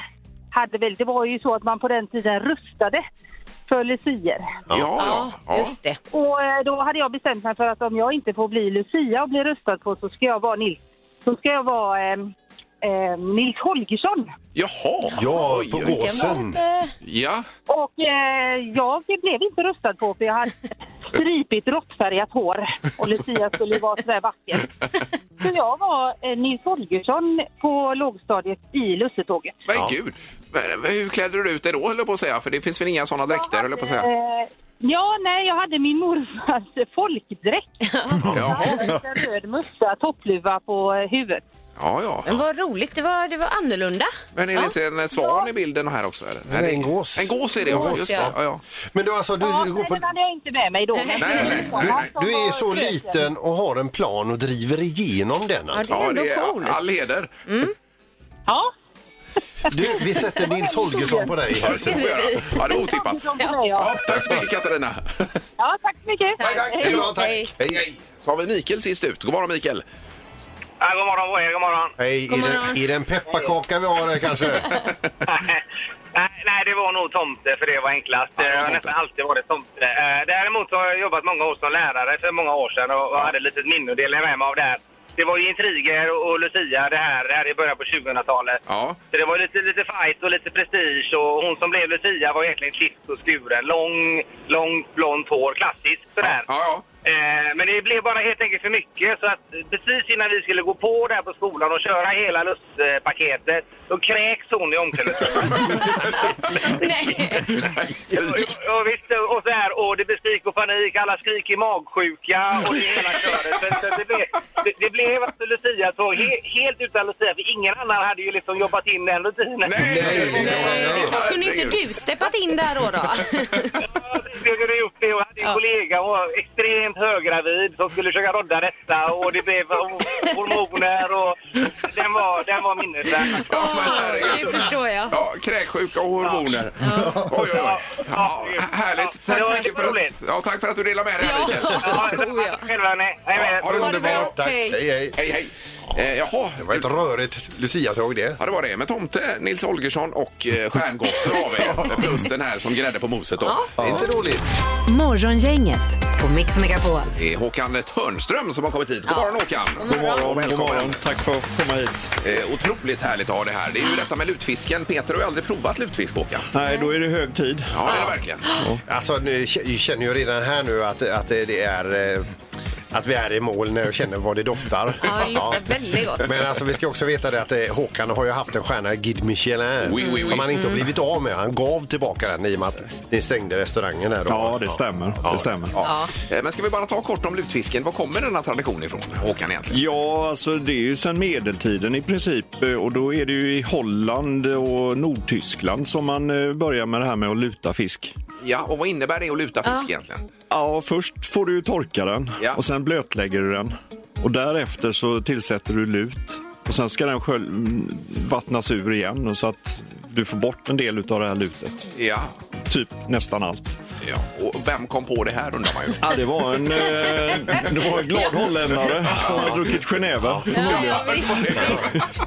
[SPEAKER 6] hade väl, det var ju så att man på den tiden rustade för lucier.
[SPEAKER 1] Ja,
[SPEAKER 3] Ja, just det.
[SPEAKER 6] Och eh, då hade jag bestämt mig för att om jag inte får bli lucia och bli röstad på så ska jag vara Nils, så ska jag vara eh, eh, Nils Holgersson.
[SPEAKER 1] Jaha.
[SPEAKER 2] Ja,
[SPEAKER 1] Oj,
[SPEAKER 2] på
[SPEAKER 1] oj.
[SPEAKER 2] gåsen.
[SPEAKER 3] eh,
[SPEAKER 1] Ja,
[SPEAKER 6] Och eh, jag blev inte röstad på för jag hade stripigt råttfärgat hår och Lucia skulle ju vara sådär vacker. Så jag var eh, Nils Holgersson på lågstadiet i lussetåget.
[SPEAKER 1] men gud. Men Hur klädde du ut dig då höll jag på att säga? För det finns väl inga sådana dräkter höll jag på att säga.
[SPEAKER 6] Eh, ja, nej, jag hade min morfars folkdräkt.
[SPEAKER 1] Jaha.
[SPEAKER 6] En röd mössa, toppluva på eh, huvudet.
[SPEAKER 1] Ja, ja.
[SPEAKER 3] Men vad roligt, det var, det var annorlunda.
[SPEAKER 1] Men är det inte en svan i bilden här också? Eller?
[SPEAKER 2] det
[SPEAKER 1] Nej,
[SPEAKER 2] är
[SPEAKER 1] det-
[SPEAKER 2] en gås.
[SPEAKER 1] En gås är det, ja.
[SPEAKER 3] Gås,
[SPEAKER 1] Just
[SPEAKER 3] ja.
[SPEAKER 1] det. Ja, ja.
[SPEAKER 2] Men du, alltså, du,
[SPEAKER 6] Ja,
[SPEAKER 2] du går
[SPEAKER 6] nej,
[SPEAKER 2] på...
[SPEAKER 6] den hade jag inte med mig då. men- alltså,
[SPEAKER 3] Nej,
[SPEAKER 1] nej, nej, nej, nej.
[SPEAKER 2] Du är så liten och har en plan och driver igenom den. Alltså.
[SPEAKER 3] Det är
[SPEAKER 1] ja
[SPEAKER 3] ändå
[SPEAKER 1] det
[SPEAKER 3] coolt.
[SPEAKER 1] är all heder.
[SPEAKER 6] Ja,
[SPEAKER 2] Du, vi sätter Nils Holgersson på dig.
[SPEAKER 1] Ja, det ska vi göra. Ja, det är otippat.
[SPEAKER 6] de på mig, ja.
[SPEAKER 1] Ja, tack så mycket Katarina.
[SPEAKER 6] ja, tack så mycket.
[SPEAKER 1] tack.
[SPEAKER 2] Det är bra, tack.
[SPEAKER 3] Hej.
[SPEAKER 1] Hej, hej. Så har vi Mikael sist ut. God morgon Mikael.
[SPEAKER 10] Ja, god morgon på er, god morgon.
[SPEAKER 2] Hej, är
[SPEAKER 3] God
[SPEAKER 2] det,
[SPEAKER 3] morgon.
[SPEAKER 2] är det en pepparkaka vi har här kanske?
[SPEAKER 10] nej, Eh, nej, det var nog tomte för det var enklast.
[SPEAKER 1] Ja, det var
[SPEAKER 10] det har
[SPEAKER 1] tomte.
[SPEAKER 10] nästan alltid varit tomte. Eh, Däremot så har jag jobbat många år som lärare för många år sedan och, och hade ett litet minne att dela med mig av där. det var ju intriger och, och Lucia det här, det här i början på 2000-talet.
[SPEAKER 1] Ja.
[SPEAKER 10] Så det var ju lite, lite fight och lite prestige och hon som blev Lucia var egentligen klippt och skuren. Lång, långt blont hår, klassiskt sådär.
[SPEAKER 1] Ja, ja.
[SPEAKER 10] Eh, Men det blev bara helt enkelt för mycket så att precis innan vi skulle gå på där på skolan och köra hela lustpaketet då kräks hon i omklädningsrummet.
[SPEAKER 3] Nej.
[SPEAKER 10] Och, och visst, och så här, och det blir skrik och panik, alla skriker magsjuka och det hela köret. Så, så det, blev, det, det blev alltså Lucia så he, helt utan Lucia, för ingen annan hade ju liksom jobbat in den rutinen.
[SPEAKER 1] Nej, nej,
[SPEAKER 3] Nej, Kunde inte typ- du steppat in där då? då?
[SPEAKER 10] Jag kunde gjort det. Jag hade en
[SPEAKER 3] Ja.
[SPEAKER 10] kollega, hon var extremt höggravid som skulle försöka rodda detta och det blev ho- hormoner och den var, den var minnesvärd.
[SPEAKER 1] men herregud.
[SPEAKER 3] det förstår jag.
[SPEAKER 1] Ja, kräksjuka och hormoner. Oj, oj, oj. Ja, härligt.
[SPEAKER 10] Ja,
[SPEAKER 1] Tack så
[SPEAKER 10] det
[SPEAKER 1] mycket
[SPEAKER 10] var
[SPEAKER 1] för att,
[SPEAKER 10] roligt.
[SPEAKER 1] ja, tack för att du delar med dig här,
[SPEAKER 3] Ja.
[SPEAKER 1] Mikael.
[SPEAKER 10] Ja,
[SPEAKER 3] Oh, ja.
[SPEAKER 10] tack själva ni. Hej med er.
[SPEAKER 1] Ha det
[SPEAKER 3] Ha det bra.
[SPEAKER 1] underbart.
[SPEAKER 2] Tack,
[SPEAKER 3] Hej.
[SPEAKER 2] hej, hej.
[SPEAKER 1] Hej, hej. Eh, jaha,
[SPEAKER 2] Det var ett rörigt Lucia-tåg det.
[SPEAKER 1] Ja, det var det. Med tomte, Nils Holgersson och eh, stjärngosse har vi. Plus den här som grädde på moset då.
[SPEAKER 2] Det är inte roligt.
[SPEAKER 5] Morgongänget på Mix Megapol.
[SPEAKER 1] Det är Håkan Törnström som har kommit hit. God morgon Håkan!
[SPEAKER 3] God morgon.
[SPEAKER 1] Välkommen.
[SPEAKER 7] Tack för att komma hit.
[SPEAKER 1] Eh, otroligt härligt att ha det här. Det är ju detta med lutfisken. Peter har ju aldrig provat lutfisk Håkan.
[SPEAKER 7] Nej, då är det hög tid.
[SPEAKER 1] Ja, det är det verkligen.
[SPEAKER 2] Alltså, nu k- jag känner ju redan här nu att, att det är... eh, Att vi är i mål när jag känner vad det doftar.
[SPEAKER 3] Ja, det luktar väldigt gott.
[SPEAKER 2] Men alltså, vi ska också veta det att eh, Håkan har ju haft en stjärna, Guide Michelin,
[SPEAKER 1] Oui, oui, oui.
[SPEAKER 2] som han inte har blivit av med. Han gav tillbaka den i och med att ni stängde restaurangen där då.
[SPEAKER 11] Ja, det stämmer. Det stämmer.
[SPEAKER 1] Ja. Eh, Men ska vi bara ta kort om lutfisken. Var kommer denna tradition ifrån Håkan egentligen?
[SPEAKER 11] Ja, alltså det är ju sedan medeltiden i princip eh, och då är det ju i Holland och Nordtyskland som man eh, börjar med det här med att luta fisk.
[SPEAKER 1] Ja, och vad innebär det att luta fisk egentligen?
[SPEAKER 11] Ja, först får du ju torka den
[SPEAKER 1] Ja.
[SPEAKER 11] och sen blötlägger du den och därefter så tillsätter du lut och sen ska den själv mm, vattnas ur igen och så att du får bort en del av det här lutet.
[SPEAKER 1] Ja.
[SPEAKER 11] Typ nästan allt.
[SPEAKER 1] ja. Och vem kom på det här undrar
[SPEAKER 7] [laughs]
[SPEAKER 1] man ju.
[SPEAKER 11] Ja, det var en, eh, det var en glad holländare som har druckit Genève.
[SPEAKER 3] Ja, ja, visst, visst.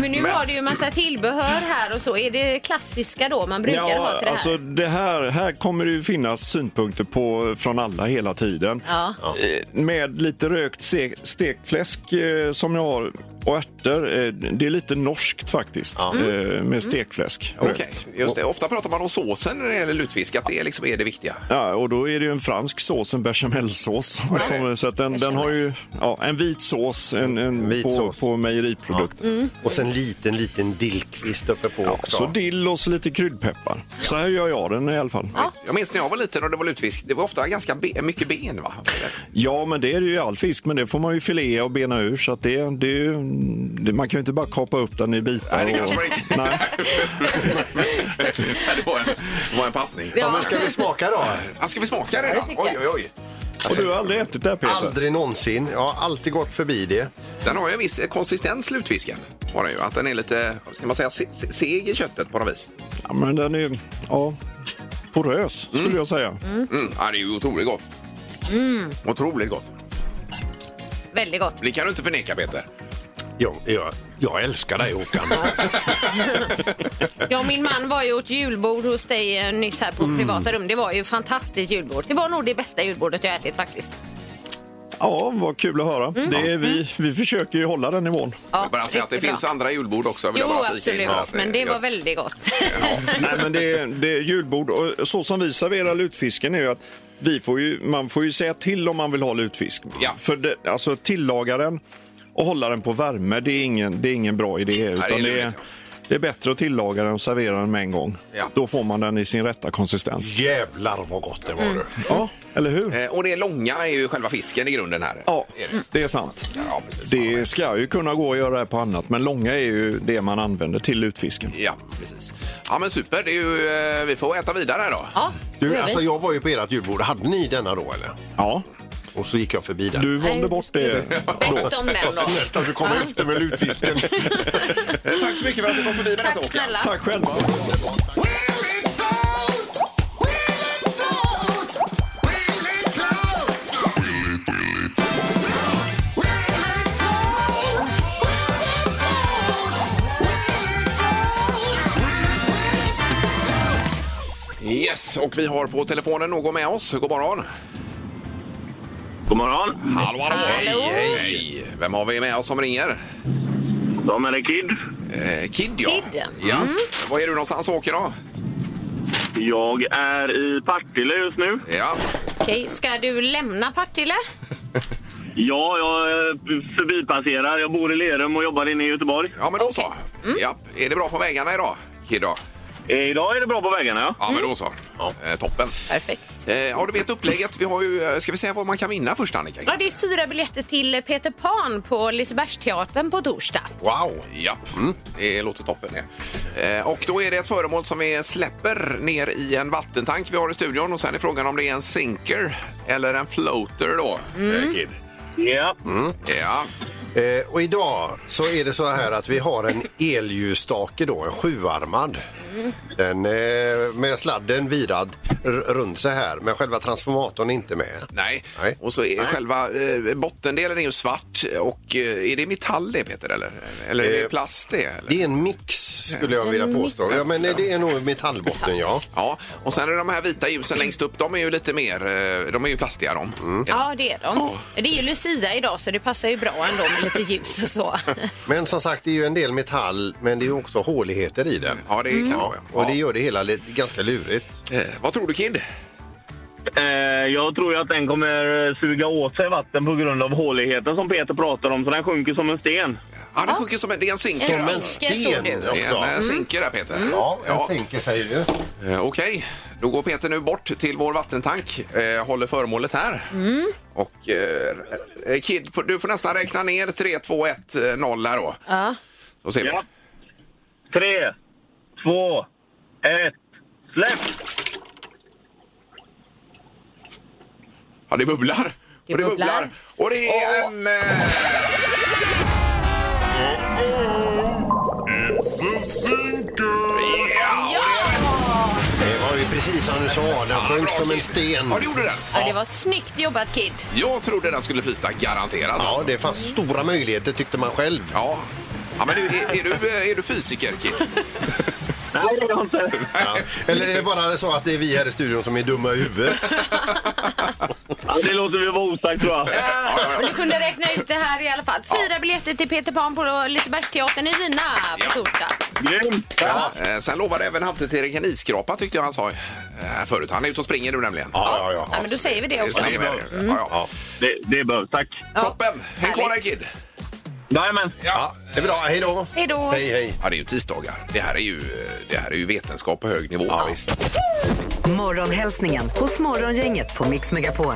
[SPEAKER 3] Men nu har du ju massa tillbehör här och så. Är det klassiska då man brukar ha till det här?
[SPEAKER 11] alltså det här, här kommer det ju finnas synpunkter på, från alla hela tiden.
[SPEAKER 3] Ja.
[SPEAKER 11] Eh, Med lite rökt se- stekfläsk eh, som jag har och ärtor. Eh, det är lite norskt faktiskt eh, med stekfläsk.
[SPEAKER 1] Okej,
[SPEAKER 11] rökt.
[SPEAKER 1] just det. Ofta pratar man om såsen när det gäller lutfisk, att det liksom är det viktiga.
[SPEAKER 11] Ja, och då är det ju en fransk sås, en bechamelsås. Som, så att den, den har ju ja, en vit sås, en, en
[SPEAKER 2] Vit
[SPEAKER 11] på,
[SPEAKER 2] sås. Mm.
[SPEAKER 11] på mejeriprodukter.
[SPEAKER 2] Och sen liten, liten dillkvist uppe på också.
[SPEAKER 11] Så dill och så lite kryddpeppar. Så här gör jag den i alla fall.
[SPEAKER 1] Jag minns när jag var liten och det var lutfisk. Det var ofta ganska be- mycket ben, va?
[SPEAKER 11] Ja, men det är det ju i all fisk, men det får man ju filea och bena ur. Så att det, det är ju, det, man kan ju inte bara kapa upp den i bitar.
[SPEAKER 1] Nej, det
[SPEAKER 11] och,
[SPEAKER 1] kanske man inte... [laughs]
[SPEAKER 11] Nej.
[SPEAKER 1] det, var en, det var en passning.
[SPEAKER 2] Ja, men ska vi smaka då?
[SPEAKER 1] Ja, Ska vi smaka redan?
[SPEAKER 3] tycker
[SPEAKER 1] Oj,
[SPEAKER 3] jag.
[SPEAKER 1] oj, oj.
[SPEAKER 11] och du har aldrig ätit det här, Peter?
[SPEAKER 2] Aldrig någonsin. Jag har alltid gått förbi det.
[SPEAKER 1] Den har ju en viss eh, konsistens, lutfisken. Har den ju. Att den är lite, ska man säga, se- se- seg i köttet på något vis.
[SPEAKER 11] Ja, men den är ja, porös, skulle jag säga.
[SPEAKER 1] Mm. Ja, det är ju otroligt gott.
[SPEAKER 3] Mm.
[SPEAKER 1] Otroligt gott.
[SPEAKER 3] Väldigt gott.
[SPEAKER 1] Det kan du inte förneka, Peter.
[SPEAKER 2] Jag, jag, jag älskar dig Håkan.
[SPEAKER 3] Jag och min man var ju åt julbord hos dig eh, nyss här på privata rum. Det var ju fantastiskt julbord. Det var nog det bästa julbordet jag ätit faktiskt.
[SPEAKER 11] Ja, vad kul att höra.
[SPEAKER 2] Mm.
[SPEAKER 11] Det är, vi, vi försöker ju hålla den
[SPEAKER 2] [laughs]
[SPEAKER 11] nivån.
[SPEAKER 3] Ja,
[SPEAKER 1] jag bara säga att det
[SPEAKER 3] riktigt bra.
[SPEAKER 1] finns andra julbord också. vill
[SPEAKER 3] Jo,
[SPEAKER 1] jag bara flika in
[SPEAKER 3] absolut.
[SPEAKER 1] här, att
[SPEAKER 3] men det
[SPEAKER 1] gör-
[SPEAKER 3] var väldigt gott.
[SPEAKER 11] Nej, men det, är- det är julbord. Och så som vi serverar lutfisken är ju att vi får ju, man får ju säga till om man vill ha lutfisk.
[SPEAKER 1] Ja.
[SPEAKER 11] För det, alltså tillaga den och hålla den på värme, det är ingen, det är ingen bra idé. Utan det, är det, är,
[SPEAKER 1] lurigt, ja.
[SPEAKER 11] bättre att tillaga den och servera den med en gång.
[SPEAKER 1] liksom- Ja.
[SPEAKER 11] Då får man den i sin rätta konsistens.
[SPEAKER 2] Jävlar vad gott det var du.
[SPEAKER 11] Mm. Ja, eller hur?
[SPEAKER 1] Eh, Och det långa är ju själva fisken i grunden här.
[SPEAKER 11] Ja, det är sant.
[SPEAKER 1] Ja, precis.
[SPEAKER 11] Det ska ju kunna gå att göra det här på annat, men långa är ju det man använder till lutfisken.
[SPEAKER 1] Ja, precis. Ja, men super. Det är ju, eh, vi får äta vidare här då.
[SPEAKER 3] Ja, det
[SPEAKER 2] Du,
[SPEAKER 3] gör vi.
[SPEAKER 2] alltså jag var ju på ert julbord. Hade ni denna då eller?
[SPEAKER 11] Ja,
[SPEAKER 2] Och så gick jag förbi där.
[SPEAKER 11] du valde
[SPEAKER 3] Nej,
[SPEAKER 11] bort det.
[SPEAKER 3] Bett om den då.
[SPEAKER 2] Att du kom efter med lutfisken.
[SPEAKER 1] Eh, Tack så mycket för att du kom förbi med detta,
[SPEAKER 3] Tack
[SPEAKER 1] Håkan.
[SPEAKER 3] snälla.
[SPEAKER 11] Tack själva.
[SPEAKER 1] Yes, och vi har på telefonen någon med oss. God morgon.
[SPEAKER 12] God morgon.
[SPEAKER 1] Hallå, hallå! Hej, hej, hej! Vem har vi med oss som ringer?
[SPEAKER 12] De är Kid.
[SPEAKER 1] Eh, kid, ja. Mm.
[SPEAKER 3] Kid.
[SPEAKER 1] ja. Var är du någonstans och åker då?
[SPEAKER 12] Jag är i Partille just nu.
[SPEAKER 1] Ja.
[SPEAKER 3] Okej, ska du lämna Partille?
[SPEAKER 12] Ja, jag eh, förbipasserar. Jag bor i Lerum och jobbar inne i Göteborg.
[SPEAKER 1] Ja, men då så. Ja, är det bra på vägarna idag, Kid? Då?
[SPEAKER 12] Eh, Idag är det bra på vägarna, ja.
[SPEAKER 1] Ja, men då så. Eh, toppen.
[SPEAKER 3] Perfekt.
[SPEAKER 1] Eh, ja, du vet upplägget. Vi har ju, eh, ska vi säga vad man kan vinna först, Annika?
[SPEAKER 3] Ja, det är fyra biljetter till Peter Pan på Lisebergsteatern på torsdag.
[SPEAKER 1] Wow! Ja, Mm, det låter toppen det. Eh, och då är det ett föremål som vi släpper ner i en vattentank vi har i studion och sen är frågan om det är en sinker eller en floater då, eh, Kid.
[SPEAKER 12] Ja.
[SPEAKER 1] Mm. Ja.
[SPEAKER 2] Mm. Eh, och idag så är det så här att vi har en elljusstake då, en sjuarmad. Den eh, med sladden virad r- runt så här, men själva transformatorn är inte med.
[SPEAKER 1] Nej. och så är själva eh, bottendelen är ju svart och eh, är det metall det Peter eller? Eller är det
[SPEAKER 2] Eh,
[SPEAKER 1] plast det? Eller?
[SPEAKER 2] Det är en mix skulle jag vilja påstå. Ja, men det är nog metallbotten ja.
[SPEAKER 1] Ja, och sen är de här vita ljusen längst upp, de är ju lite mer, eh, de är ju plastiga de.
[SPEAKER 2] Mm.
[SPEAKER 3] Ja, det är de. Det är ju Lucia idag så det passar ju bra ändå med lite ljus och så.
[SPEAKER 1] [laughs]
[SPEAKER 2] Men som sagt, det är ju en del metall, men det är ju också håligheter i den.
[SPEAKER 1] Ja, det kan vara.
[SPEAKER 2] Och det gör det hela lite, ganska lurigt.
[SPEAKER 1] vad tror du, Kid?
[SPEAKER 12] Eh, Jag tror ju att den kommer suga åt sig vatten på grund av håligheten som Peter pratar om, så den sjunker som en sten.
[SPEAKER 1] Ja, den sjunker som en, det är en sinker.
[SPEAKER 12] Som en
[SPEAKER 1] alltså.
[SPEAKER 12] sten tror du.
[SPEAKER 1] Det är en,
[SPEAKER 12] Mm.
[SPEAKER 1] en sinker där Peter.
[SPEAKER 2] Ja, en sinker säger du.
[SPEAKER 1] Eh, Okej, då går Peter nu bort till vår vattentank, eh, håller föremålet här. Och eh, eh, Kid, får- du får nästan räkna ner 3, 2, 1, 0 eh, här då.
[SPEAKER 3] Ja.
[SPEAKER 1] Då ser vi.
[SPEAKER 12] Tre, två, ett, släpp!
[SPEAKER 1] Ja, det bubblar. och det bubblar. Och det är en... eh,
[SPEAKER 2] Det var ju precis som du sa, den sjönk som en sten.
[SPEAKER 1] Ja, det gjorde den.
[SPEAKER 3] Ja, det var snyggt jobbat Kid.
[SPEAKER 1] Jag trodde den skulle flyta, garanterat.
[SPEAKER 2] Ja,
[SPEAKER 1] alltså.
[SPEAKER 2] det fanns stora möjligheter tyckte man själv.
[SPEAKER 1] Ja. Ja, men du, är, är, du, eh, är du fysiker, Kid?
[SPEAKER 12] Nej, det är inte.
[SPEAKER 2] Eller är det bara så att det är vi här i studion som är dumma i huvudet?
[SPEAKER 12] Ja, det låter vi vara osagt tror jag.
[SPEAKER 3] Och du kunde räkna ut det här i alla fall. Fyra biljetter till Peter Pan på Lisebergsteatern i Gina på torsdag.
[SPEAKER 12] Grymt!
[SPEAKER 1] Ja. Eh, Sen lovade även Halvtids-Erik en iskrapa, tyckte jag han sa eh, förut. Han är ute och springer nu nämligen.
[SPEAKER 2] Ja, ja,
[SPEAKER 3] Ja, men då säger vi det
[SPEAKER 1] Det
[SPEAKER 3] också.
[SPEAKER 1] är med. det. Ja, ja.
[SPEAKER 12] Det, det behövs, tack.
[SPEAKER 1] Toppen! Häng kvar där, Kid!
[SPEAKER 12] Jajamän.
[SPEAKER 1] Ja,
[SPEAKER 2] det är bra. Hej då!
[SPEAKER 3] Hej då!
[SPEAKER 2] Hej, hej!
[SPEAKER 1] Ja, det är ju tisdagar. Det här är ju, eh, det här är ju vetenskap på hög nivå. Ja, visst.
[SPEAKER 5] Morgonhälsningen hos Morgongänget på Mix Megapol.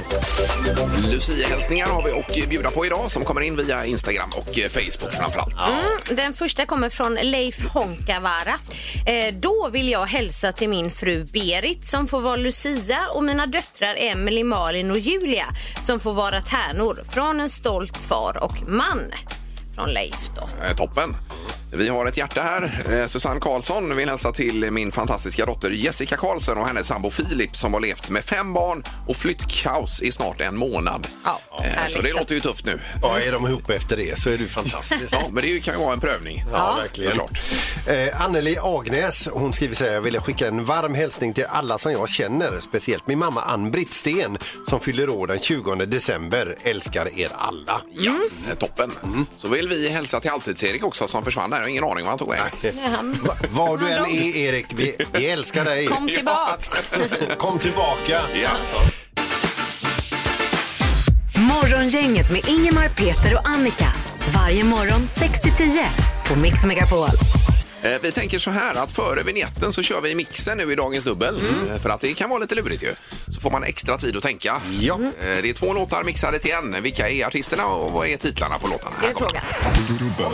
[SPEAKER 1] Lucia-hälsningar har vi och bjuda på idag som kommer in via Instagram och eh, Facebook framförallt.
[SPEAKER 3] Mm, den första kommer från Leif Honkavara. Eh, då vill jag hälsa till min fru Berit som får vara Lucia och mina döttrar Emily, Malin och Julia som får vara tärnor från en stolt far och man. Från Leif då.
[SPEAKER 1] Eh, Toppen! Vi har ett hjärta här. Eh, Susanne Karlsson vill hälsa till min fantastiska dotter Jessica Karlsson och hennes sambo Filip som har levt med fem barn och flyttkaos i snart en månad.
[SPEAKER 3] Ja,
[SPEAKER 1] Eh,
[SPEAKER 3] härligt.
[SPEAKER 1] Så det låter ju tufft nu.
[SPEAKER 2] Ja, är de ihop efter det så är du fantastisk.
[SPEAKER 3] [laughs]
[SPEAKER 1] Ja, men det kan ju vara en prövning.
[SPEAKER 2] Ja, verkligen.
[SPEAKER 1] Såklart.
[SPEAKER 2] Eh, Anneli Agnäs hon skriver så här. Jag vill skicka en varm hälsning till alla som jag känner. Speciellt min mamma Ann-Britt Sten som fyller år den 20 december. Älskar er alla.
[SPEAKER 1] Ja, eh, toppen. Så vill vi hälsa till Alltids-Erik också som försvann här. Jag har ingen aning vad han tog vägen.
[SPEAKER 2] Va, var du än är Erik, vi, vi älskar dig.
[SPEAKER 3] Kom tillbaks!
[SPEAKER 2] Kom tillbaka.
[SPEAKER 1] Ja.
[SPEAKER 5] Morgongänget med Ingemar, Peter och Annika. Varje morgon 6 till 10 på Mix Megapol.
[SPEAKER 1] Eh, Vi tänker så här att före vignetten så kör vi mixen nu i dagens dubbel.
[SPEAKER 3] Mm.
[SPEAKER 1] Eh, För att det kan vara lite lurigt ju. Så får man extra tid att tänka.
[SPEAKER 2] Ja.
[SPEAKER 1] Eh, Det är två låtar mixade till en. Vilka är artisterna och vad är titlarna på låtarna?
[SPEAKER 3] Det är frågan.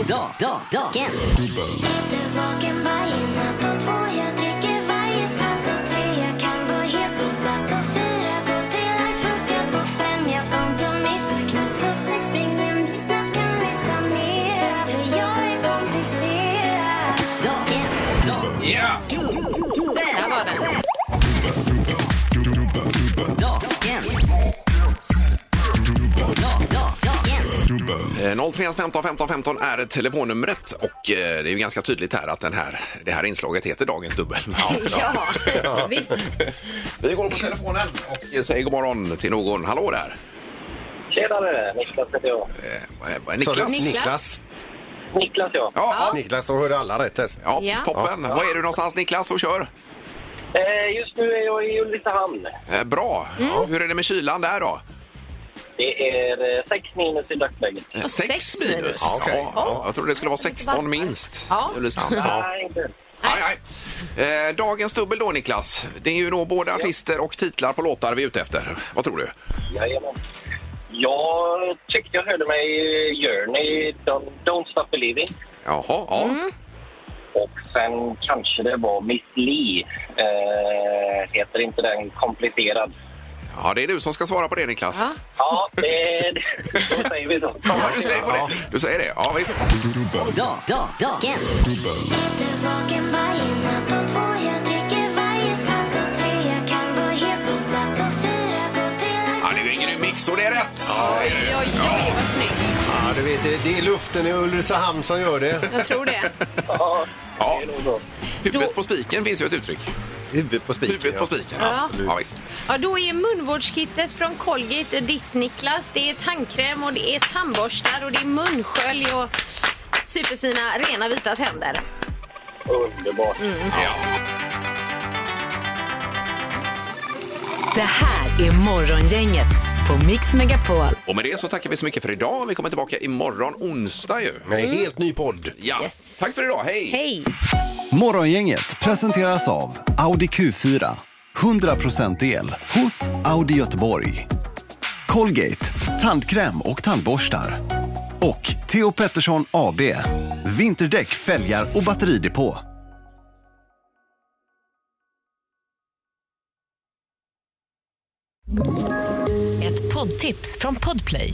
[SPEAKER 9] Dag, dag, dagen.
[SPEAKER 1] Ja!
[SPEAKER 3] Där var den.
[SPEAKER 1] Eh, 031 15 15 15 är telefonnumret och eh, det är ju ganska tydligt här att den här, det här inslaget heter Dagens Dubbel.
[SPEAKER 3] [laughs] Ja, visst.
[SPEAKER 1] Vi går på telefonen och säger god morgon till någon. Hallå där!
[SPEAKER 10] Tjenare! Niklas heter jag.
[SPEAKER 1] Eh,
[SPEAKER 2] Niklas?
[SPEAKER 10] Niklas.
[SPEAKER 2] Niklas.
[SPEAKER 10] Niklas, ja.
[SPEAKER 1] Ja,
[SPEAKER 2] Niklas, då hörde alla rätt. här.
[SPEAKER 10] Ja.
[SPEAKER 1] Toppen.
[SPEAKER 10] Ja.
[SPEAKER 1] Var är du någonstans Niklas och kör?
[SPEAKER 10] Eh, just nu är jag i Ulricehamn.
[SPEAKER 1] Eh, Bra. Ja, Hur är det med kylan där då?
[SPEAKER 10] Det är eh, sex minus i dagsläget.
[SPEAKER 1] Eh, sex minus? Ja, ja, jag trodde det skulle vara 16 minst.
[SPEAKER 10] Ja.
[SPEAKER 1] Ulricehamn. Ja.
[SPEAKER 10] Nej, inte.
[SPEAKER 1] Nej, nej. Eh, Dagens dubbel då Niklas. Det är ju då både artister och titlar på låtar vi är ute efter. Vad tror du?
[SPEAKER 10] Jajamän. Jag tyckte jag hörde mig i Journey, Don't, don't Stop Believing.
[SPEAKER 1] Jaha, ja.
[SPEAKER 10] Och sen kanske det var Miss Li. Eh, heter inte den komplicerad?
[SPEAKER 1] Ja, det är du som ska svara på det Niklas.
[SPEAKER 10] Ja, det, [laughs] då säger vi så.
[SPEAKER 1] Du säger, på det. du säger det? Ja, visst.
[SPEAKER 13] Dag, dag, dagen.
[SPEAKER 1] Ja, det är ju en grym mix och det är rätt!
[SPEAKER 3] Oj, oj, oj, vad snyggt.
[SPEAKER 2] Ja, du vet, det- det är luften i Ulricehamn som gör det.
[SPEAKER 3] Jag tror det.
[SPEAKER 10] Ja,
[SPEAKER 1] Ja. Huvudet på spiken finns ju ett uttryck.
[SPEAKER 2] [laughs] Huvudet på spiken.
[SPEAKER 1] Huvudet på spiken,
[SPEAKER 3] Ja.
[SPEAKER 1] ja.
[SPEAKER 3] Absolut.
[SPEAKER 1] ja visst.
[SPEAKER 3] Ja, då är munvårdskittet från Colgate ditt Niklas. Det är tandkräm och det är tandborstar och det är munskölj och superfina rena vita tänder.
[SPEAKER 10] Underbart.
[SPEAKER 5] Det här är Morgongänget på Mix Megapol.
[SPEAKER 1] Och med det så tackar vi så mycket för idag. Vi kommer tillbaka imorgon onsdag ju.
[SPEAKER 2] Med en helt ny podd.
[SPEAKER 1] Ja. Tack för idag, hej!
[SPEAKER 3] Hej!
[SPEAKER 14] Morgongänget presenteras av Audi Q4. 100% el hos Audi Göteborg. Colgate, tandkräm och tandborstar. Och Theo Pettersson AB, vinterdäck, fälgar och batteridepå.
[SPEAKER 15] Ett poddtips från Podplay.